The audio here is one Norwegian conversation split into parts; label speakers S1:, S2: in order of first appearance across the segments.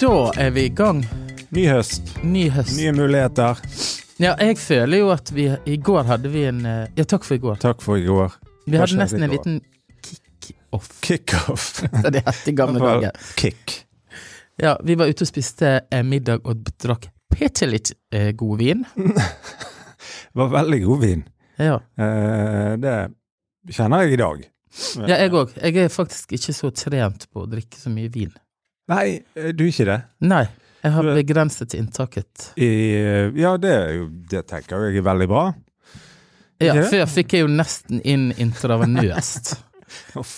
S1: Da er vi i gang.
S2: Ny høst,
S1: Ny høst.
S2: nye muligheter.
S1: Ja, jeg føler jo at vi I går hadde vi en eh, Ja, takk for i går.
S2: Takk for i går.
S1: Vi hadde
S2: skjedde
S1: nesten
S2: i
S1: en
S2: går?
S1: liten kickoff.
S2: Kickoff.
S1: Det er helt i gamle dager.
S2: Kick.
S1: Ja, vi var ute og spiste eh, middag og drakk bitte litt eh, god vin.
S2: Var veldig god vin.
S1: Ja.
S2: Eh, det kjenner jeg i dag.
S1: ja, jeg òg. Jeg er faktisk ikke så trent på å drikke så mye vin.
S2: Nei, eh, du er ikke det.
S1: Nei. Jeg har
S2: Du er-
S1: begrenset inntaket.
S2: I, eh, ja, det, er jo- det tenker jeg er veldig bra.
S1: Ja,
S2: Ikke det?
S1: Før fikk jeg jo nesten inn intravenøst.
S2: Uff.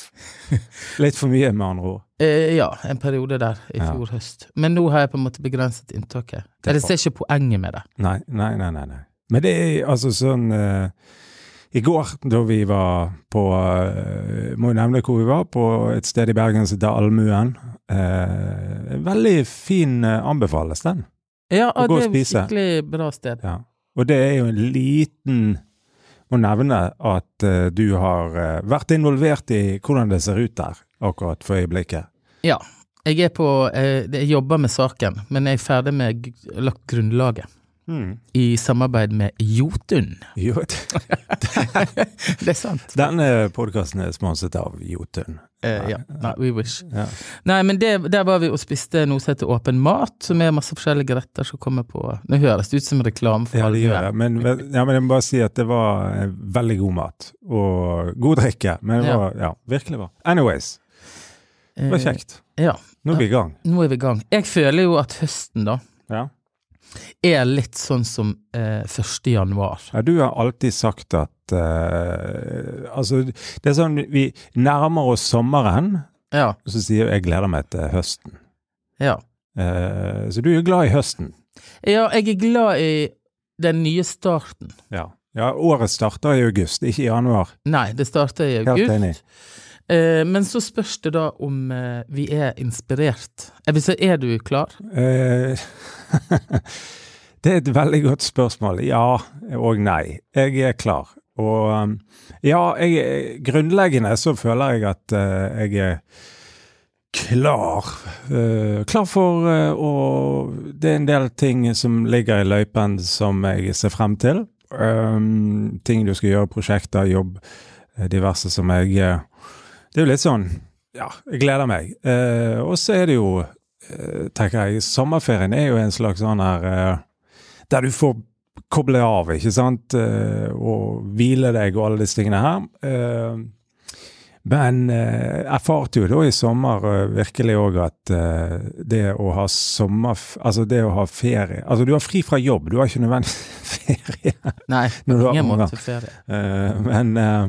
S2: Litt for mye, med andre ord.
S1: Eh, ja, en periode der i
S2: Ja.
S1: fjor høst. Men nå har jeg på en måte begrenset inntaket.
S2: er
S1: Jeg ser ikke poenget med det.
S2: Nei, nei, nei. nei, nei. Men det er altså sånn eh, I går, da vi var på eh, Må jo nevne hvor vi var, på et sted i Bergen som heter Allmuen. Eh, veldig fin eh, anbefales, den.
S1: Ja,
S2: Å gå
S1: det er
S2: og
S1: et
S2: spise.
S1: skikkelig bra sted.
S2: Ja. Og det er jo en liten Må nevne at eh, du har eh, vært involvert i hvordan det ser ut der akkurat for øyeblikket.
S1: Ja. Jeg er på eh, Jeg jobber med saken, men jeg er ferdig med g- lagt grunnlaget. I samarbeid med Jotun.
S2: Jo,
S1: Det er sant.
S2: denne podkasten er sponset av Jotun.
S1: Eh, ja. Nei, we wish.
S2: Ja.
S1: Nei, men det, der var vi og spiste noe som heter Åpen mat, som er masse forskjellige retter som kommer på Nå høres det ut som reklame for
S2: Ja, det gjør
S1: Almuen.
S2: det. Men, men- ja, men jeg må bare si at det var eh, veldig god mat. Og god drikke. Men det
S1: Ja.
S2: var ja, virkelig bra. Anyways, det var
S1: Eh,
S2: kjekt.
S1: ja.
S2: Nå er vi i gang.
S1: Eh, Nå er vi i gang. Jeg føler jo at høsten, da,
S2: Ja.
S1: er litt sånn som eh, 1. januar.
S2: Ja, du har alltid sagt at eh, Altså, det er sånn vi nærmer oss sommeren,
S1: Ja,
S2: og så sier jeg jeg gleder meg til høsten.
S1: ja.
S2: Eh, så du er jo glad i høsten.
S1: Ja, jeg er glad i den nye starten.
S2: Ja. ja året starter i august, ikke i januar.
S1: Nei, det starter i
S2: Helt enig.
S1: august. Eh, men så spørs det da om eh, vi er inspirert. Eh, Jeg vil si, er du klar?
S2: Eh, det er et veldig godt spørsmål. Ja og nei. Jeg er klar. Og um, ja, jeg, grunnleggende så føler jeg at eh, jeg er klar. Eh, klar for eh, å Det er en del ting som ligger i løypen som jeg ser frem til. Um, ting du skal gjøre, prosjekter, jobb, eh, diverse som jeg eh, Det er jo litt sånn Ja, jeg gleder meg. Eh, og så er det jo eh, tenker jeg, sommerferien er jo en slags sånn her eh, Der du får koble av, ikke sant? Eh, og hvile deg og alle disse tingene her. Eh, men eh, erfarte jo da i sommer eh, virkelig òg at eh, det å ha sommer... Altså det å ha ferie Altså du har fri fra jobb, du har ikke nødvendigvis ferie.
S1: Nei,
S2: Når
S1: på
S2: du har
S1: ingen
S2: unger.
S1: måte ferie.
S2: Eh, men, eh,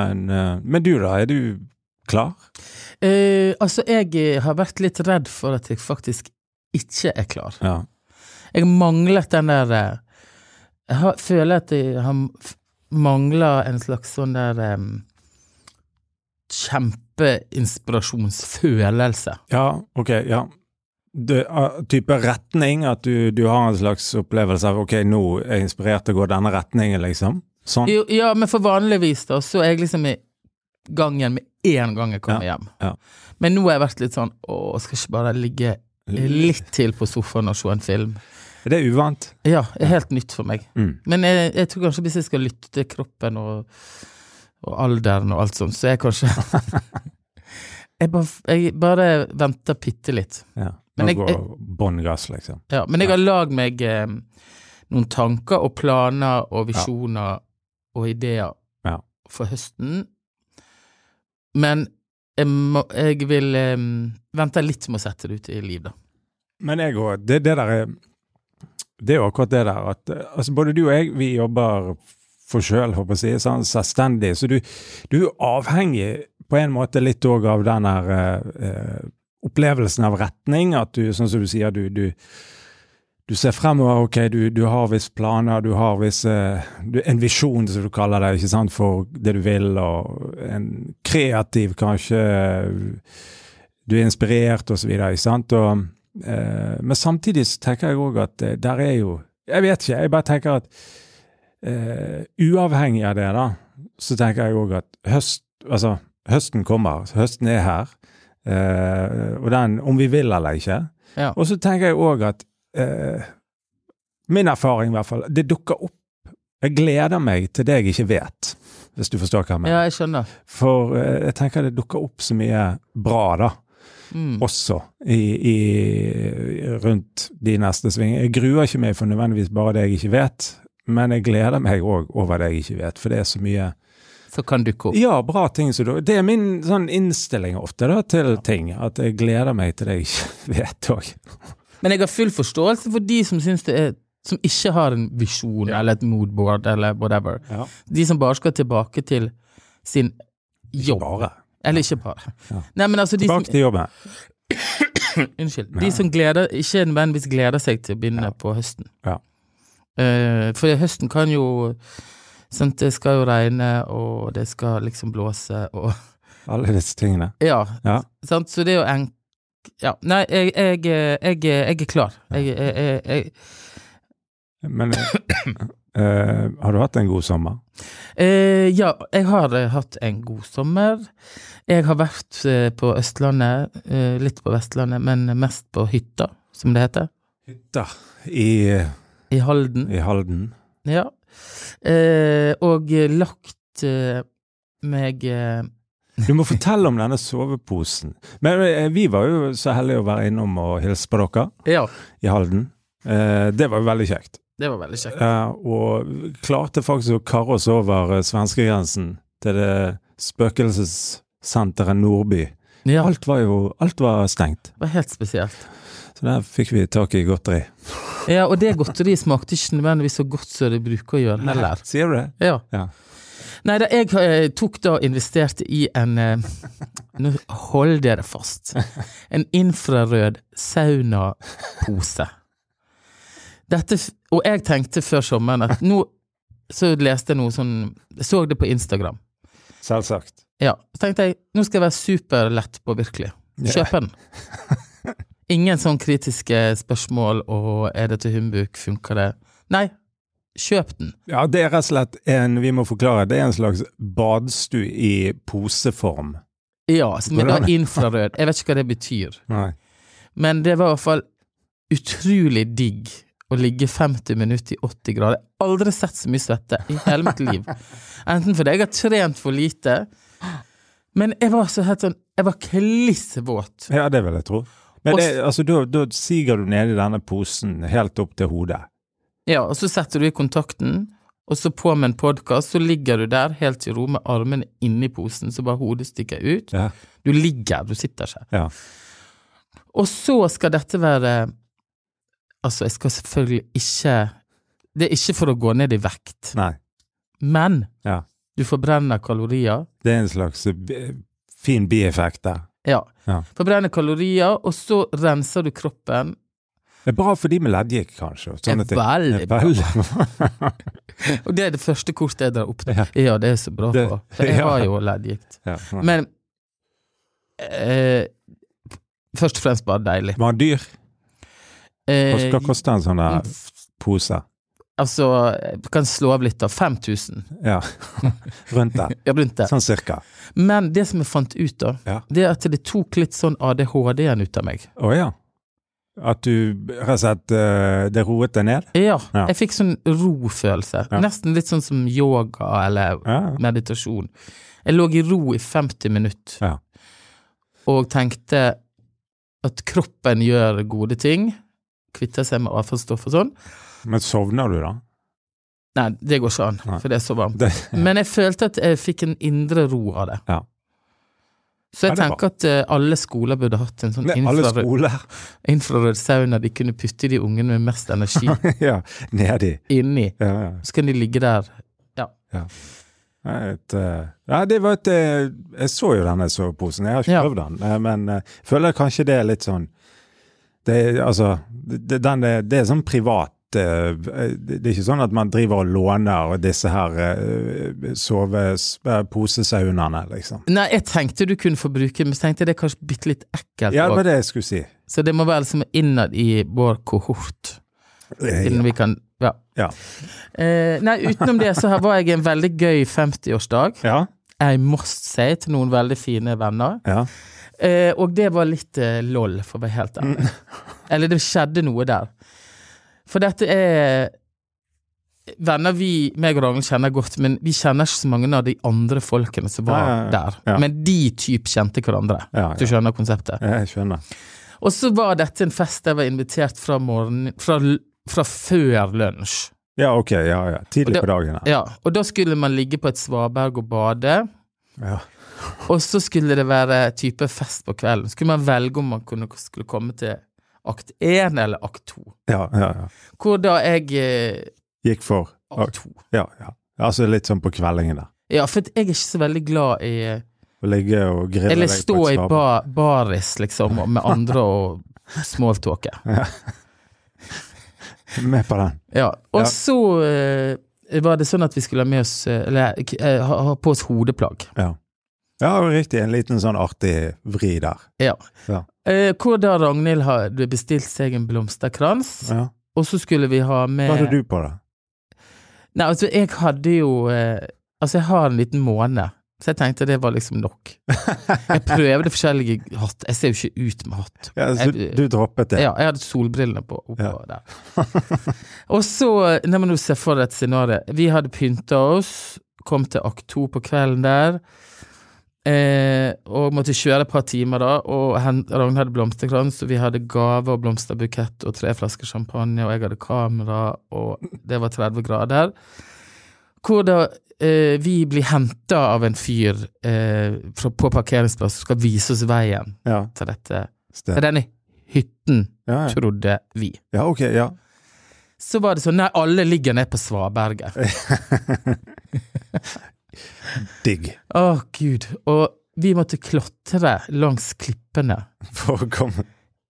S2: men, eh, men du da, er du klar?
S1: Eh, altså, jeg eh, har vært litt redd for at jeg faktisk ikke er klar.
S2: Ja.
S1: Jeg manglet den der eh, Jeg har, føler at jeg har f- manglet en slags sånn der eh, Kjempeinspirasjonsfølelse.
S2: Ja, ok, ja. Det, uh, type retning, at du, du har en slags opplevelse av ok, nå er jeg inspirert til å gå denne retningen, liksom? Sånn?
S1: Jo, ja, men for vanligvis da, så er jeg liksom i gangen med en gang jeg kommer hjem.
S2: ja.
S1: Men nå har jeg vært litt sånn Å, skal ikke bare ligge litt til på sofaen og se en film?
S2: Er det uvant?
S1: Ja, det er helt nytt for meg.
S2: Mm.
S1: Men jeg, jeg tror kanskje hvis jeg skal lytte til kroppen og, og alderen og alt sånt, så er jeg kanskje jeg, bare, jeg bare venter bitte litt.
S2: Ja.
S1: Men
S2: Nå
S1: jeg-
S2: går bånn gass, liksom.
S1: Ja, men jeg har lagd meg eh, noen tanker og planer og visjoner og ideer
S2: Ja.
S1: for høsten. Men jeg, må, jeg vil eh, vente litt med å sette det ut i liv, da.
S2: Men jeg òg. Det, det der er Det er jo akkurat det der at eh, altså både du og jeg, vi jobber for sjøl, håper jeg å si, sånn selvstendig. Så du, du er jo avhengig på en måte litt òg av den her eh, eh, opplevelsen av retning. At du, sånn som du sier, du, du du ser fremover, ok, du, du har visse planer, du har visse, du, en visjon som du kaller det, ikke sant, for det du vil, og en kreativ kanskje, du er inspirert og så videre, ikke sant, og, eh, men samtidig så tenker jeg også at eh, der er jo, jeg vet ikke, jeg bare tenker at eh, uavhengig av det da, så tenker jeg også at høst, altså, høsten kommer, høsten er her, eh, og den, om vi vil eller ikke,
S1: Ja.
S2: Og så tenker jeg òg at eh, Min erfaring, i hvert fall. Det dukker opp Jeg gleder meg til det jeg ikke vet, hvis du forstår hva jeg mener.
S1: Ja, jeg skjønner.
S2: For eh, jeg tenker det dukker opp så mye bra, da.
S1: Mm.
S2: Også i, i, rundt de neste svingene. Jeg gruer ikke meg for nødvendigvis bare det jeg ikke vet, men jeg gleder meg òg over det jeg ikke vet, for det er så mye
S1: Så kan dukke opp.
S2: ja, bra ting. Så da- det er min sånn innstilling ofte da, til ting, at jeg gleder meg til det jeg ikke vet òg.
S1: Men jeg har full forståelse for de som syns det er som ikke har en visjon eller et moodboard eller whatever.
S2: Ja.
S1: De som bare skal tilbake til sin jobb.
S2: Bare.
S1: Eller ikke bare.
S2: Ja.
S1: Nei, men altså de som,
S2: Tilbake til jobben.
S1: unnskyld, de som gleder, ikke nødvendigvis gleder seg til å begynne på høsten.
S2: Ja.
S1: Eh, for høsten kan jo sant, Det skal jo regne, og det skal liksom blåse og
S2: Alle disse tingene.
S1: Ja.
S2: Ja.
S1: Sant? Så det er jo enk... Ja. Nei, jeg, jeg, jeg, jeg er klar. Jeg, jeg, jeg, jeg,
S2: Men eh, eh, har du hatt en god sommer?
S1: Eh, ja, jeg har eh, hatt en god sommer. Jeg har vært eh, på Østlandet, eh, litt på Vestlandet, men mest på hytta, som det heter.
S2: Hytta i,
S1: I Halden.
S2: i Halden.
S1: Ja. Eh, og lagt eh, meg eh,
S2: Du må fortelle om denne soveposen. Men eh, vi var jo så heldige å være innom og hilse på dere
S1: Ja,
S2: i Halden. Eh, det var jo veldig kjekt.
S1: det var veldig kjekt.
S2: Eh, og klarte faktisk å karre oss over eh, svenskegrensen til det spøkelsessenteret Nordby.
S1: Ja, det
S2: Alt var jo alt var stengt,
S1: var helt spesielt.
S2: så der fikk vi tak i godteri.
S1: Ja, og det godteriet smakte ikke nødvendigvis så godt som det bruker å gjøre heller.
S2: Sier du det?
S1: Ja.
S2: Ja.
S1: Nei, da, jeg eh, tok da og investerte i en eh, Nå hold dere fast. En infrarød saunapose. Dette f- Og jeg tenkte før sommeren at nå Så leste jeg noe sånn Jeg så det på Instagram.
S2: Selvsagt.
S1: Ja. Så tenkte jeg nå skal jeg være superlett på virkelig.
S2: Ja.
S1: Kjøp den. Ingen sånn kritiske spørsmål og er det til humbug, funker det? Nei, kjøp den.
S2: Ja, det er rett og slett en Vi må forklare. Det er en slags badstue i poseform.
S1: Ja, som er da infrarød. Jeg vet ikke hva det betyr.
S2: Nei.
S1: Men det var i hvert fall utrolig digg å ligge 50 minutter i 80 grader. Jeg har aldri sett så mye svette i hele mitt liv. Enten fordi jeg har trent for lite, men jeg var så helt sånn Jeg var klissvåt.
S2: Ja, det vil jeg tro. Men
S1: Og
S2: det,
S1: s-
S2: altså, da, da siger du ned i denne posen helt opp til hodet.
S1: Ja, og så setter du i kontakten, og så på med en podkast, så ligger du der helt i ro med armene inni posen, så bare hodet stikker ut.
S2: Ja.
S1: Du ligger, du sitter ikke.
S2: Ja.
S1: Og så skal dette være Altså, jeg skal selvfølgelig ikke Det er ikke for å gå ned i vekt.
S2: Nei.
S1: Men
S2: Ja.
S1: du forbrenner kalorier.
S2: Det er en slags eh, bi- fin bieffekt der.
S1: Ja.
S2: Ja.
S1: Forbrenner kalorier, og så renser du kroppen.
S2: Det er bra for de med leddgikt, kanskje. og Sånne
S1: Det
S2: ting.
S1: er
S2: Det
S1: veldig
S2: er
S1: bra.
S2: veldig-
S1: Og det er det første kortet jeg drar opp.
S2: Ja.
S1: Ja, det er så bra
S2: Det-
S1: for For jeg
S2: ja.
S1: har jo leddgikt.
S2: ja. Men
S1: Men eh, Først og fremst bare deilig.
S2: var den dyr? Hva
S1: Eh,
S2: skal koste en sånn der pose?
S1: altså, jeg kan slå av litt, da. 5000.
S2: Ja. Rundt der.
S1: Ja, rundt det.
S2: Sånn cirka.
S1: Men det som jeg fant ut, da,
S2: Ja.
S1: det er at det tok litt sånn ADHD-en ut av meg.
S2: Å ja. At du rett og slett eh, Det roet deg ned?
S1: Ja,
S2: Ja.
S1: jeg fikk sånn rofølelse.
S2: Ja.
S1: Nesten litt sånn som yoga eller
S2: Ja.
S1: meditasjon. Jeg lå i ro i 50 minutter
S2: Ja.
S1: og tenkte at kroppen gjør gode ting. Kvitter seg med avfallsstoff og sånn.
S2: Men sovner du, da?
S1: Nei, det går ikke an,
S2: Nei.
S1: for det er så varmt.
S2: Det,
S1: Men jeg følte at jeg fikk en indre ro av det.
S2: Ja.
S1: Så jeg
S2: Ja, det er
S1: tenker at eh, alle skoler burde hatt en sånn
S2: Nei, alle
S1: infrarød,
S2: skoler
S1: infrarød sauna de kunne putte de ungene med mest energi
S2: ja, nedi.
S1: inni.
S2: Ja, ja.
S1: Så kan de ligge der.
S2: Nei, Et, eh, ja, det var et eh, Jeg så jo denne soveposen, jeg har ikke
S1: Ja.
S2: prøvd den. eh, Men eh, føler kanskje det er litt sånn Det er altså det, den er, det er sånn privat eh, det det er ikke sånn at man driver og låner disse her eh, sove... eh, posesaunene, liksom.
S1: Nei, jeg tenkte du kunne få bruke den, men så tenkte jeg det er kanskje bitte litt ekkelt.
S2: Ja, det
S1: også.
S2: var det jeg skulle si.
S1: Så det må være liksom innad i vår kohort. Siden vi kan Ja.
S2: Ja.
S1: Eh, nei, utenom det så her var jeg i en veldig gøy 50-årsdag.
S2: Ja,
S1: I must say til noen veldig fine venner.
S2: ja. Mm.
S1: Eh, og det var litt eh, lol, for å være helt ærlig. Eller det skjedde noe der. For dette er venner vi, meg og Ragnhild, kjenner godt, men vi kjenner ikke så mange av de andre folkene som var
S2: Ja, ja, ja.
S1: der.
S2: Ja.
S1: Men de typ kjente hverandre.
S2: Ja,
S1: Du
S2: ja.
S1: skjønner konseptet.
S2: Jeg skjønner.
S1: Og så var dette en fest jeg var invitert fra morgen, fra, l- fra før lunsj.
S2: Ja, ok. Ja, ja.
S1: Og
S2: Tidlig
S1: det-
S2: på dagen. her.
S1: Ja, og da skulle man ligge på et svaberg og bade.
S2: Ja.
S1: Og så skulle det være type fest på kvelden. Skulle man velge om man kunne, skulle komme til akt 1 eller akt 2.
S2: Ja, ja, ja.
S1: Hvor da jeg eh,
S2: Gikk for
S1: Akt 2.
S2: Ja, ja. Altså litt sånn på kveldingen der.
S1: Ja, for jeg er ikke så veldig glad i eh,
S2: Å ligge og grille
S1: Eller
S2: deg
S1: stå
S2: på
S1: i
S2: et svaberg.
S1: ba, baris, liksom, og med andre og smalltalke.
S2: Med på den.
S1: Ja. Og
S2: Ja.
S1: så eh, var det sånn at vi skulle ha med oss eh, Eller k- eh, ha, ha på oss hodeplagg.
S2: Ja. ja, riktig. En liten sånn artig vri der.
S1: Ja.
S2: Ja.
S1: Eh, hvor da Ragnhild hadde bestilt seg en blomsterkrans,
S2: Ja.
S1: og så skulle vi ha med
S2: Hva hadde du på, da?
S1: Nei, altså, jeg hadde jo eh, Altså, jeg har en liten måne, så jeg tenkte det var liksom nok. Jeg prøvde forskjellige hatt. Jeg ser jo ikke ut med hatt.
S2: Ja, så
S1: Jeg-
S2: du droppet det?
S1: Ja, jeg hadde solbrillene på oppå
S2: Ja.
S1: der. Og så Nei, men nå ser jeg for deg et scenario. Vi hadde pynta oss, kom til akt to på kvelden der. Eh, og måtte kjøre et par timer da, og hen- Ragnhild hadde blomsterkrans, og vi hadde gave og blomsterbukett og tre flasker champagne, og jeg hadde kamera, og det var 30 grader. Hvor da eh, vi blir henta av en fyr eh, fra, på parkeringsplass som skal vise oss veien
S2: Ja.
S1: til dette.
S2: Stem.
S1: Til denne hytten
S2: Ja, ja.
S1: trodde vi.
S2: ja, ok. Ja.
S1: Så var det sånn, nei, alle ligger ned på svaberget.
S2: Digg.
S1: Å, gud. Og vi måtte klatre langs klippene.
S2: For å komme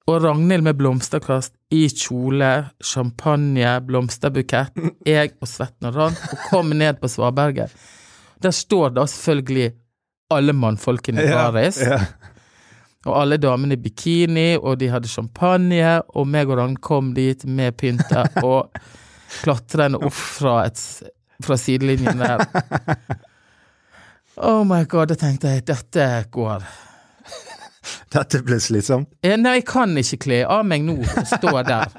S1: Og Ragnhild med blomsterkast i kjole, champagne, blomsterbukett, jeg og svetten og rant, og kom ned på svaberget. Der står da selvfølgelig alle mannfolkene i
S2: Ja,
S1: baris,
S2: ja.
S1: og alle damene i bikini, og de hadde champagne, og meg og Ragnhild kom dit med pynta og klatrende opp fra, et, s- fra sidelinjen der. Oh my god, da tenkte jeg, dette går.
S2: Dette ble slitsomt.
S1: Eh, Nei, jeg kan ikke kle av meg nå og stå der.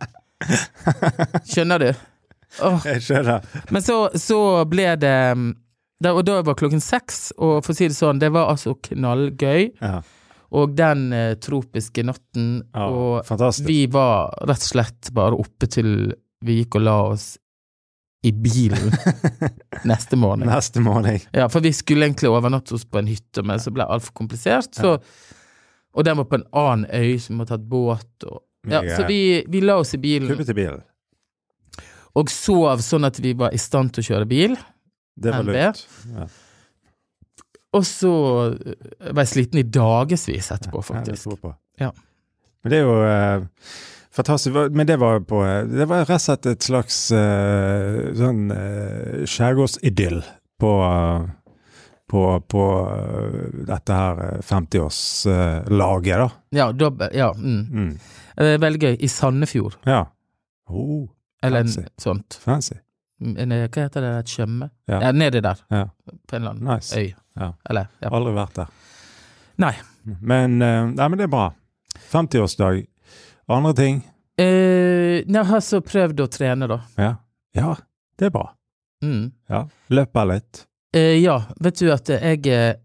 S1: Skjønner du? Åh.
S2: Jeg skjønner.
S1: Men så, så ble det mm, da, Og da var klokken seks, og for å si det sånn, det var altså knallgøy.
S2: Ja.
S1: Og den eh, tropiske natten,
S2: Ja,
S1: og
S2: fantastisk.
S1: vi var rett og slett bare oppe til vi gikk og la oss i bilen neste morgen.
S2: Neste morgen.
S1: Ja, for vi skulle egentlig overnatte oss på en hytte, men så ble det altfor komplisert. Så, Og den var på en annen øy, så vi måtte ha et båt. Og, ja,
S2: Mye
S1: så vi, vi la oss i bilen
S2: Kubbete bil.
S1: og sov sånn at vi var i stand til å kjøre bil.
S2: Det var
S1: NB.
S2: lurt. Ja.
S1: Og så eh, var jeg sliten i dagevis etterpå,
S2: Ja, det
S1: faktisk.
S2: tror jeg på.
S1: Ja.
S2: Men det er jo eh, fantastisk. Hva- Men det var, på, eh, det var rett og slett et slags eh, sånn eh, skjærgårdsidyll på, eh, på, på eh, dette her 50-årslaget, da.
S1: Ja, dobbel, ja, mm.
S2: Mm.
S1: Eh, Veldig gøy. I Sandefjord,
S2: Ja. Oh,
S1: eller
S2: Fancy.
S1: en sånt.
S2: fancy.
S1: En, eh, hva heter det, et skjømme?
S2: Ja.
S1: Ja. nedi der.
S2: Ja.
S1: På en eller annen
S2: Nice.
S1: øy.
S2: Ja.
S1: Eller, Eh, ja.
S2: Aldri vært der.
S1: Nei.
S2: Men, eh, nei, men det er bra. 50-årsdag. Andre ting?
S1: Eh, nei, jeg har så prøvd å trene, da.
S2: Ja. ja, det er bra.
S1: Mm.
S2: Ja. Løper litt.
S1: Eh, ja, vet du at jeg eh,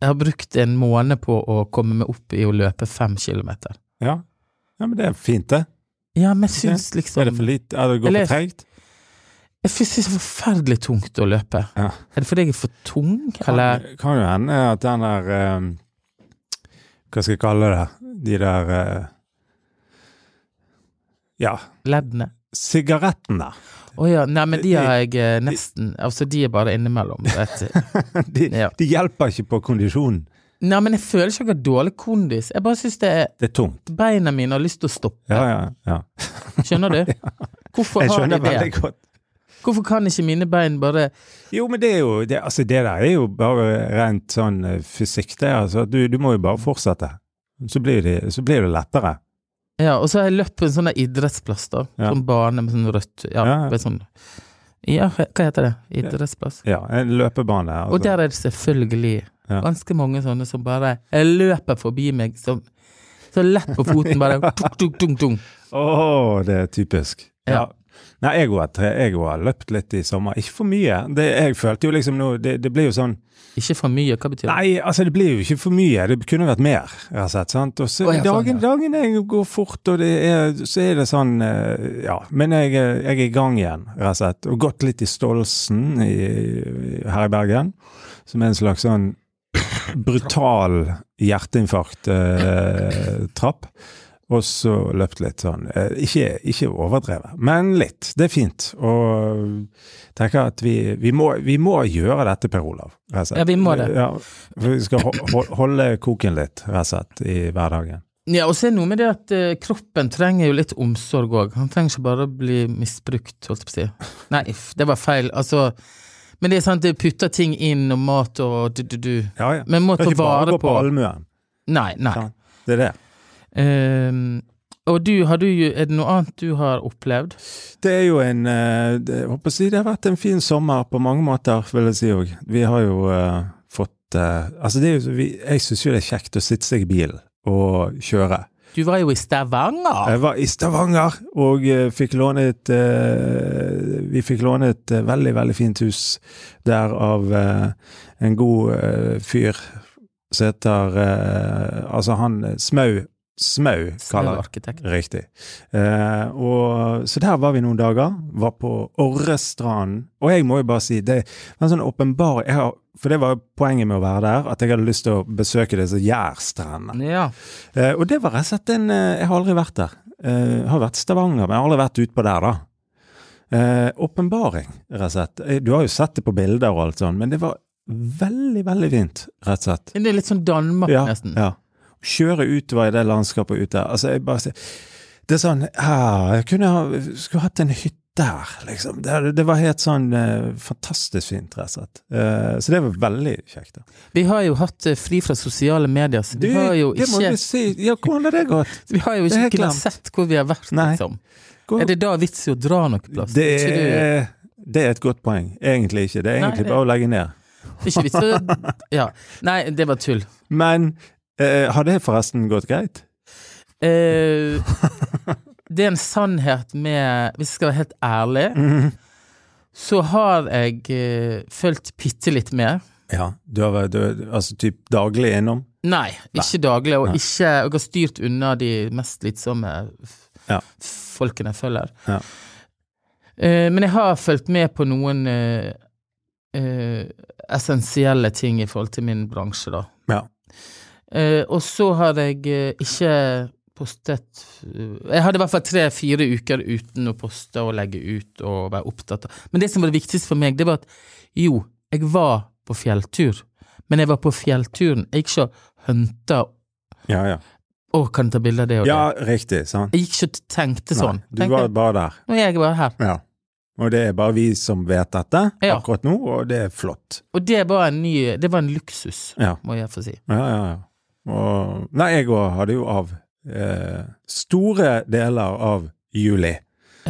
S1: Jeg har brukt en måned på å komme meg opp i å løpe fem kilometer.
S2: Ja. ja, men det er fint, det.
S1: Ja, men jeg syns liksom
S2: Er det for lite? Er det går
S1: Eller-
S2: for treigt?
S1: Jeg syns det er så forferdelig tungt å løpe.
S2: Ja.
S1: Er det fordi jeg er for tung, eller?
S2: Kan, kan jo hende at den der eh, Hva skal jeg kalle det? De der eh, Ja,
S1: Leddene?
S2: sigarettene.
S1: Å ja, nei, men de
S2: De-
S1: har jeg eh, nesten Altså, de er bare innimellom. Vet du.
S2: De,
S1: Ja.
S2: de hjelper ikke på kondisjonen.
S1: Nei, men jeg føler ikke at jeg har dårlig kondis. Jeg bare syns det er
S2: Det er tungt.
S1: Beina mine har lyst til å stoppe.
S2: Ja, ja, ja.
S1: Skjønner du? Hvorfor
S2: Jeg
S1: har de
S2: skjønner veldig
S1: det?
S2: godt.
S1: Hvorfor kan ikke mine bein bare
S2: Jo, men det er jo det, altså det der er jo bare rent sånn eh, fysikk, det. Altså, du, du må jo bare fortsette. Så blir det, så blir det lettere.
S1: Ja, og så har jeg løpt på en sånn der idrettsplass, da.
S2: Ja.
S1: Sånn bane med sånn rødt Ja,
S2: Ja, ja.
S1: med sånn Ja, hva heter det? Idrettsplass.
S2: Ja, en løpebane. Altså.
S1: Og der er det selvfølgelig
S2: Ja.
S1: ganske mange sånne som bare løper forbi meg som Så lett på foten, bare tuk, tuk, tung, tung.
S2: Å, det er typisk. Ja.
S1: Ja.
S2: Nei, jeg òg har tre- jeg òg har løpt litt i sommer. Ikke for mye. Det, jeg følte jo liksom nå Det, det blir jo sånn
S1: Ikke for mye, hva betyr det?
S2: Nei, altså det blir jo ikke for mye. Det kunne vært mer, rett og slett. sant? Og så
S1: Å, ja, sånn,
S2: dagen,
S1: ja.
S2: dagen er- går fort, og det er, så er det sånn eh, Ja. Men jeg, er- jeg er i gang igjen, rett og slett. Og gått litt i Stolsen i, her i Bergen, som er en slags sånn brutal eh, hjerteinfarkt-trapp. og så løpt litt sånn. eh, Ikke, ikke overdrevet, men litt. Det er fint. Og tenker at vi, vi, må, vi må gjøre dette, Per Olav. rett og slett.
S1: Ja, vi må det.
S2: Ja, for vi skal ho ho- holde koken litt, rett og slett, i hverdagen.
S1: Ja, og så er det noe med det at eh, kroppen trenger jo litt omsorg òg. Han trenger ikke bare å bli misbrukt, holdt jeg på å si. Nei, f- det var feil. Altså, men det er sant, det putter ting inn, og mat og du-du-du.
S2: Ja, ja.
S1: Men må
S2: Kan
S1: ta
S2: ikke bare
S1: vare
S2: gå på
S1: på
S2: allmuen.
S1: Nei, nei.
S2: Ja. Det er det.
S1: Ehm, og du, har du, jo- er det noe annet du har opplevd?
S2: Det er jo en eh, det, jeg håper å si, det har vært en fin sommer på mange måter, vil jeg si òg. Vi har jo eh, fått eh, Altså, det er jo, så- vi, jeg syns jo det er kjekt å sitte seg i bilen og kjøre.
S1: Du var jo i Stavanger!
S2: Jeg var i Stavanger og eh, fikk låne et eh, Vi fikk låne et eh, veldig, veldig fint hus der av eh, en god eh, fyr som heter eh, Altså han eh, Smau. Smau, kaller jeg.
S1: Arkitekt.
S2: Riktig. Eh, og, så der var vi noen dager. Var på Orrestranden. Og jeg må jo bare si, det var en sånn åpenbar jeg har- For det var jo poenget med å være der, at jeg hadde lyst til å besøke disse jærstrendene.
S1: Ja.
S2: Eh, og det var rett og slett en eh, Jeg har aldri vært der. Eh, har vært i Stavanger, men jeg har aldri vært utpå der, da. Eh, Åpenbaring, rett og slett. Eh, Du har jo sett det på bilder og alt sånn, men det var veldig, veldig fint, rett og slett.
S1: Men Det er litt sånn Danmark,
S2: Ja,
S1: nesten.
S2: ja. Kjøre utover i det landskapet ute. Altså, jeg bare ser Det er sånn ah, Jeg kunne ha, skulle hatt en hytte der, liksom. Det, det var helt sånn eh, fantastisk fint, rett og slett. Eh, så det var veldig kjekt. Da.
S1: Vi har jo hatt eh, fri fra sosiale medier, så vi har jo
S2: det må
S1: ikke,
S2: du si. Ja, hvordan har det gått?
S1: vi har jo
S2: det er
S1: ikke
S2: helt
S1: kunnet
S2: glemt.
S1: sett hvor vi har vært,
S2: Nei.
S1: liksom.
S2: Hvor-
S1: Er det da vits i å dra noe plass?
S2: Det
S1: Ikke det-
S2: er, det er et godt poeng. Egentlig ikke. Det er
S1: Nei,
S2: egentlig
S1: det-
S2: bare å legge ned.
S1: ikke vits i å Ja. Nei, det var tull.
S2: Men eh, har det forresten gått greit?
S1: Eh, det er en sannhet med Hvis jeg skal være helt ærlig,
S2: Mhm.
S1: så har jeg eh, fulgt bitte litt med.
S2: Ja. Du har vært du, altså, typ daglig innom?
S1: Nei, ikke daglig, og
S2: Nei.
S1: ikke Jeg har styrt unna de mest slitsomme f-
S2: Ja.
S1: folkene jeg følger.
S2: Ja.
S1: Eh, men jeg har fulgt med på noen eh, eh, essensielle ting i forhold til min bransje, da.
S2: Ja.
S1: Eh, og så har jeg eh, ikke postet eh, Jeg hadde i hvert fall tre-fire uker uten å poste og legge ut og være opptatt av Men det som var det viktigste for meg, det var at jo, jeg var på fjelltur, men jeg var på fjellturen. Jeg gikk ikke og hunta
S2: Ja, ja.
S1: Å, kan jeg ta bilde av det og
S2: ja riktig. Sant?
S1: det? Jeg gikk ikke og tenkte sånn.
S2: Nei, du
S1: Tenkte,
S2: var bare der.
S1: Nå er jeg bare her.
S2: Ja. Og det er bare vi som vet dette
S1: Ja.
S2: akkurat nå, og det er flott.
S1: Og det var en ny Det var en luksus,
S2: Ja,
S1: må jeg få si.
S2: ja, ja. ja. Og, nei, jeg òg hadde jo av eh, store deler av juli.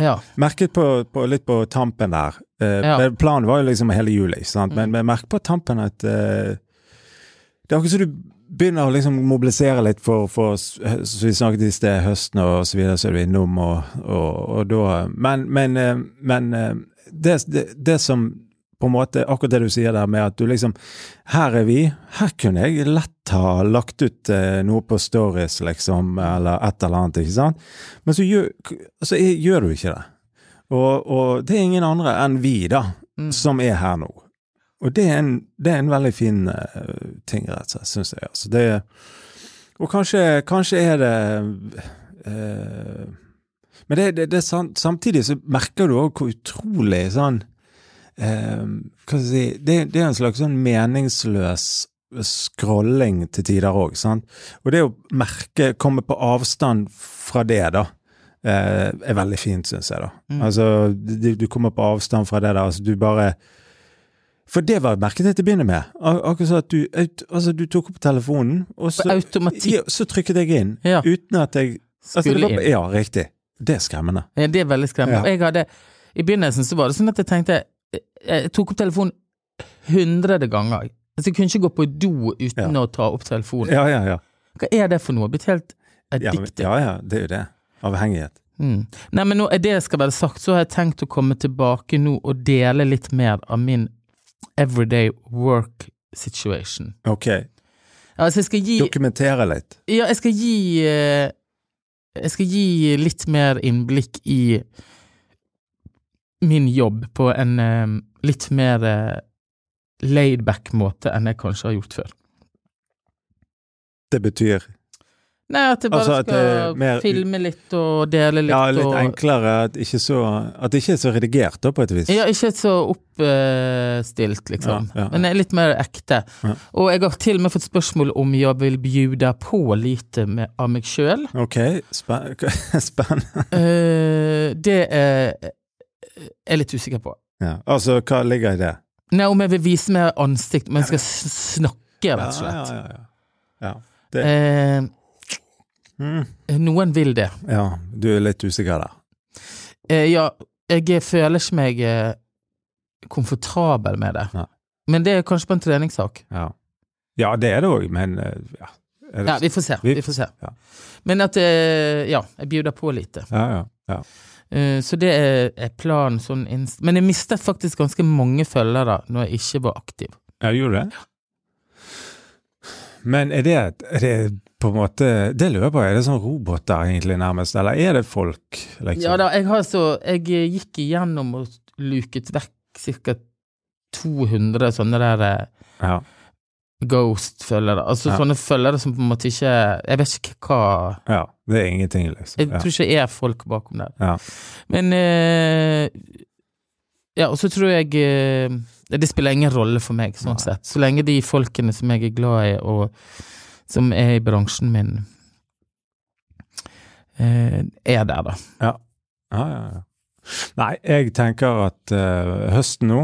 S1: Ja.
S2: Merket på, på, litt på tampen der. Eh,
S1: Ja.
S2: men Planen var jo liksom hele juli, sant? Men, men merk på tampen at eh, Det er akkurat som du begynner å liksom mobilisere litt for, for s- hø- Som vi snakket i sted, høsten og så videre, så er du innom og, og, og da Men, men, eh, men eh, det, det, det som på en måte, Akkurat det du sier der med at du liksom Her er vi. Her kunne jeg lett ha lagt ut eh, noe på stories, liksom, eller et eller annet, ikke sant? Men så gjør, så er, gjør du ikke det. Og, og det er ingen andre enn vi, da,
S1: Mm.
S2: som er her nå. Og det er en, det er en veldig fin eh, ting, rett og slett, syns jeg. Altså, det, og kanskje, kanskje er det eh, Men det, det, det er sant, samtidig så merker du òg hvor utrolig sånn eh, Hva skal jeg si det, det er en slags sånn meningsløs scrolling til tider òg, sant. Og det å merke, komme på avstand fra det, da, eh, er veldig fint, syns jeg, da.
S1: Mm.
S2: Altså, du, du kommer på avstand fra det der, altså du bare For det var merket jeg til å begynne med. Ak akkurat sånn at du, aut- altså, du tok opp telefonen, og
S1: På
S2: så,
S1: automatikk
S2: ja, så trykket jeg inn.
S1: Ja.
S2: Uten at jeg altså, det
S1: skulle
S2: var,
S1: inn.
S2: Ja, riktig. Det er skremmende.
S1: Ja, det er veldig skremmende.
S2: Ja.
S1: Og jeg hadde, I begynnelsen så var det sånn at jeg tenkte Jeg, jeg tok opp telefonen hundrede ganger. Altså, jeg kunne ikke gå på do uten å ta opp telefonen.
S2: Ja, ja, ja.
S1: Hva er det for noe? Jeg er Blitt helt Addictive.
S2: Ja, ja, det er jo det. Avhengighet.
S1: Mm. Nei, men nå er det skal være sagt, så har jeg tenkt å komme tilbake nå og dele litt mer av min everyday work situation.
S2: Ok,
S1: Altså, jeg skal gi
S2: dokumentere litt.
S1: Ja, jeg skal gi eh, Jeg skal gi litt mer innblikk i min jobb på en eh, litt mer eh, laid-back måte enn jeg kanskje har gjort før.
S2: Det betyr
S1: Nei, at jeg bare
S2: Altså, at det er
S1: skal
S2: mer-
S1: filme litt og dele litt
S2: ja, litt
S1: og
S2: enklere, at, ikke så, at det ikke er så redigert, da, på et vis.
S1: Ja, ikke så oppstilt, liksom.
S2: Ja, ja, ja.
S1: Men det er litt mer ekte.
S2: Ja.
S1: Og jeg har til og med fått spørsmål om jeg vil bjuda på lite med, av meg sjøl.
S2: Ok, spen spennende.
S1: Eh, det er jeg er litt usikker på.
S2: Ja. Altså, hva ligger i det?
S1: Nei, om jeg vil vise mer ansikt, men skal s- snakke, rett og slett.
S2: Ja, ja, ja. ja. ja.
S1: Eh,
S2: Mm.
S1: noen vil det.
S2: ja, du er litt usikker der.
S1: Eh, ja, jeg føler ikke meg eh, komfortabel med det.
S2: Nei.
S1: Men det er kanskje på en treningssak.
S2: Ja, ja det er det òg, men eh, ja. Er det-
S1: Ja, vi får se.
S2: Vi-
S1: Vi får se.
S2: ja.
S1: Men at eh, Ja, jeg bjuder på lite.
S2: ja, ja, ja.
S1: Eh, så det er, er planen sånn inst Men jeg mistet faktisk ganske mange følgere når jeg ikke var aktiv.
S2: Ja, gjorde du det? Men er det, er det på en måte Det lurer jeg på, er det sånn roboter egentlig nærmest, eller er det folk, liksom?
S1: Ja da, jeg har så Jeg eh, gikk igjennom og luket vekk ca. 200 sånne der eh,
S2: Ja.
S1: Ghost-følgere. Altså
S2: Ja.
S1: sånne følgere som på en måte ikke Jeg vet ikke hva
S2: ja. Det er ingenting,
S1: Jeg
S2: liksom. Ja.
S1: tror ikke det er folk bakom der.
S2: Ja.
S1: Men eh, Ja, og så tror jeg eh, Det spiller ingen rolle for meg, sånn
S2: Nei.
S1: sett. Så lenge de folkene som jeg er glad i, og som er i bransjen min, eh, er der, da.
S2: Ja, ja, ja. Nei, jeg tenker at eh, høsten nå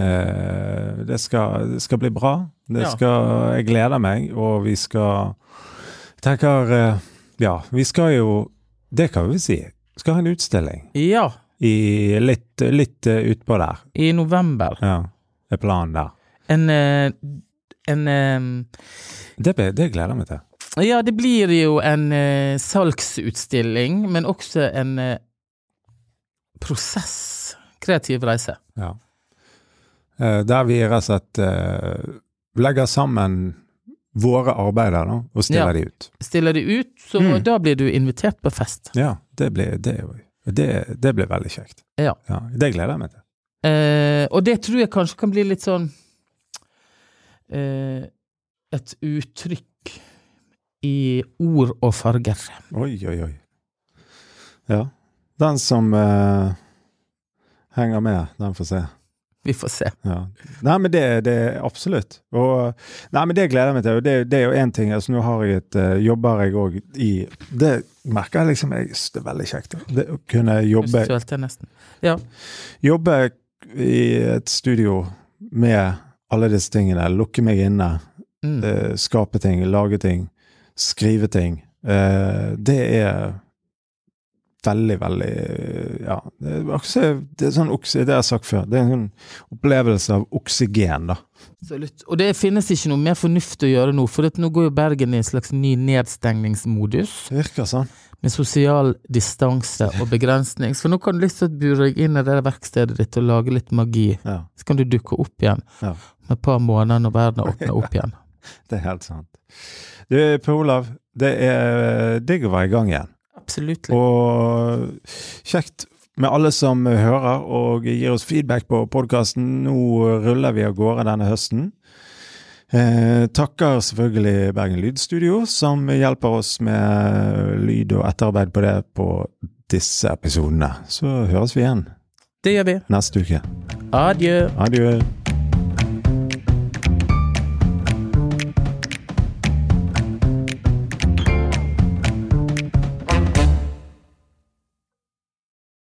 S2: eh, det, skal, det skal bli bra. Det
S1: Ja.
S2: skal, jeg gleder meg, og vi skal Jeg tenker eh, Ja, vi skal jo Det kan vi si. Skal ha en utstilling
S1: Ja,
S2: i litt, litt eh, utpå der.
S1: i november.
S2: Ja, er planen der.
S1: En, eh, en eh,
S2: Det, be- det gleder jeg meg til.
S1: Ja, det blir jo en eh, salgsutstilling, men også en eh, prosess. Kreativ reise.
S2: Ja. Eh, der vi rett og slett eh, legger sammen våre arbeider da, og
S1: Ja.
S2: stiller de ut.
S1: Stiller du ut, så
S2: Mm.
S1: da blir du invitert på fest.
S2: Ja, det blir, det, er jo- det, det blir veldig kjekt.
S1: Ja.
S2: Det gleder jeg meg til.
S1: Eh, og det tror jeg kanskje kan bli litt sånn eh, Et uttrykk i ord og farger.
S2: Oi, oi, oi. Ja. Den som eh, henger med, den får se.
S1: Vi får se.
S2: Ja. Nei, men det, det er absolutt. Og, nei, men det gleder jeg meg til. Og det, det er jo én ting. Altså, nå har jeg et, eh, jobber jeg òg i Det merker jeg liksom. Jeg, synes det er veldig kjekt. da. Det, å kunne jobbe
S1: Jeg sølte nesten.
S2: jobbe i et studio med alle disse tingene, lukke meg inne,
S1: Mm.
S2: eh, skape ting, lage ting, skrive ting, eh, det er veldig, veldig eh, Ja, det er, okse- det er sånn okse, det har jeg sagt før, det er en sånn opplevelse av oksygen, da.
S1: Absolutt. Og det finnes ikke noe mer fornuftig å gjøre nå, for at nå går jo Bergen i en slags ny nedstengningsmodus.
S2: Det virker sånn.
S1: med sosial distanse og begrensning. Så nå kan du lyst til å bure deg inn i det der verkstedet ditt og lage litt magi.
S2: Ja,
S1: Så kan du dukke opp igjen
S2: Ja.
S1: om et par måneder når verden har åpna opp igjen.
S2: det er helt sant. Du, Per Olav, det er eh, digg å være i gang igjen.
S1: Absolutt.
S2: Og kjekt med alle som hører og gir oss feedback på podkasten. Nå ruller vi av gårde denne høsten. Eh, takker selvfølgelig Bergen Lydstudio, som hjelper oss med lyd og etterarbeid på det på disse episodene. Så høres vi igjen
S1: Det gjør vi.
S2: neste uke.
S1: Adjø.
S2: Adjø.